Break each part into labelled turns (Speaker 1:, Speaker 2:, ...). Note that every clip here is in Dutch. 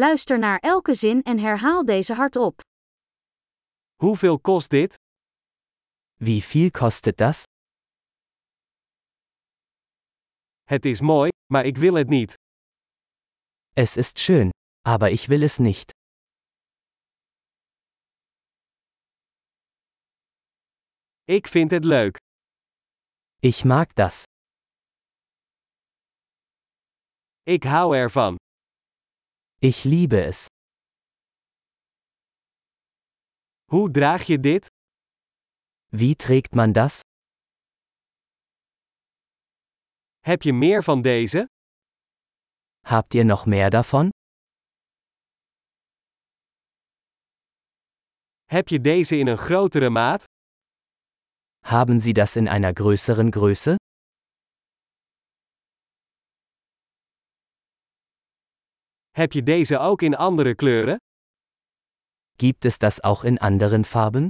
Speaker 1: Luister naar elke zin en herhaal deze hardop.
Speaker 2: Hoeveel kost dit?
Speaker 3: Wie viel kostet das?
Speaker 2: Het is mooi, maar ik wil het niet.
Speaker 3: Es ist schön, aber ich will es nicht.
Speaker 2: Ik vind het leuk.
Speaker 3: Ich mag das.
Speaker 2: Ik hou ervan.
Speaker 3: Ich liebe es.
Speaker 2: Hoe draag je dit?
Speaker 3: Wie trägt man das?
Speaker 2: Heb je meer van deze?
Speaker 3: Habt ihr noch mehr davon?
Speaker 2: Heb je deze in een grotere maat?
Speaker 3: Haben Sie das in einer größeren Größe?
Speaker 2: Heb je deze ook in andere kleuren?
Speaker 3: Gibt es das auch in anderen Farben?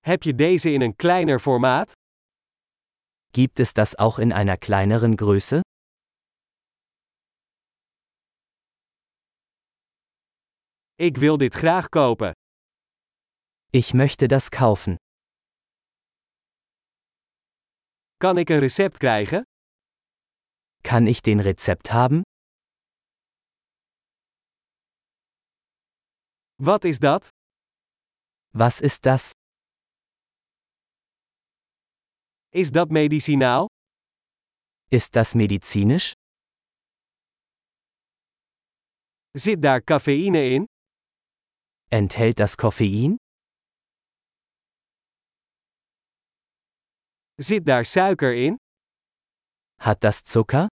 Speaker 2: Heb je deze in een kleiner formaat?
Speaker 3: Gibt es das auch in einer kleineren Größe?
Speaker 2: Ik wil dit graag kopen.
Speaker 3: Ich möchte das kaufen.
Speaker 2: Kan ik een recept krijgen?
Speaker 3: Kann ich den Rezept haben?
Speaker 2: Wat is dat?
Speaker 3: Was ist das?
Speaker 2: Is dat medicinaal?
Speaker 3: Ist das medizinisch?
Speaker 2: Zit daar cafeïne in?
Speaker 3: Enthält das Koffein?
Speaker 2: Zit daar suiker in?
Speaker 3: Hat das Zucker?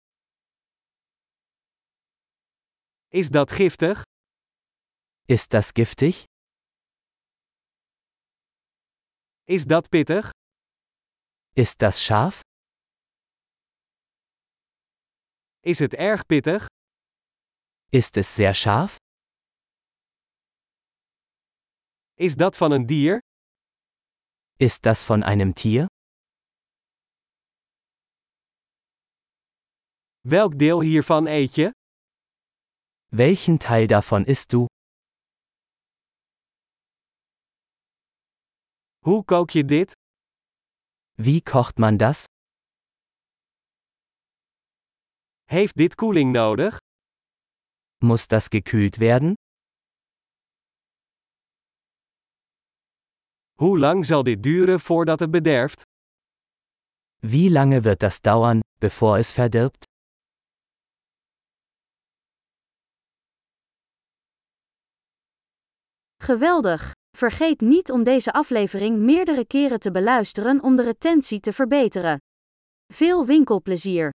Speaker 2: Is dat giftig?
Speaker 3: Ist das giftig?
Speaker 2: Is dat pittig?
Speaker 3: Ist das scharf?
Speaker 2: Is het erg pittig?
Speaker 3: Ist es sehr scharf?
Speaker 2: Is dat van een dier?
Speaker 3: Ist das von einem Tier?
Speaker 2: Welk deel hiervan eet je?
Speaker 3: Welchen Teil davon isst du?
Speaker 2: Hoe kook je dit?
Speaker 3: Wie kocht man das?
Speaker 2: Heeft dit koeling nodig?
Speaker 3: Muss das gekühlt werden?
Speaker 2: Hoe lang zal dit duren voordat het bederft?
Speaker 3: Wie lange wird das dauern, bevor es verdirbt?
Speaker 1: Geweldig! Vergeet niet om deze aflevering meerdere keren te beluisteren om de retentie te verbeteren. Veel winkelplezier!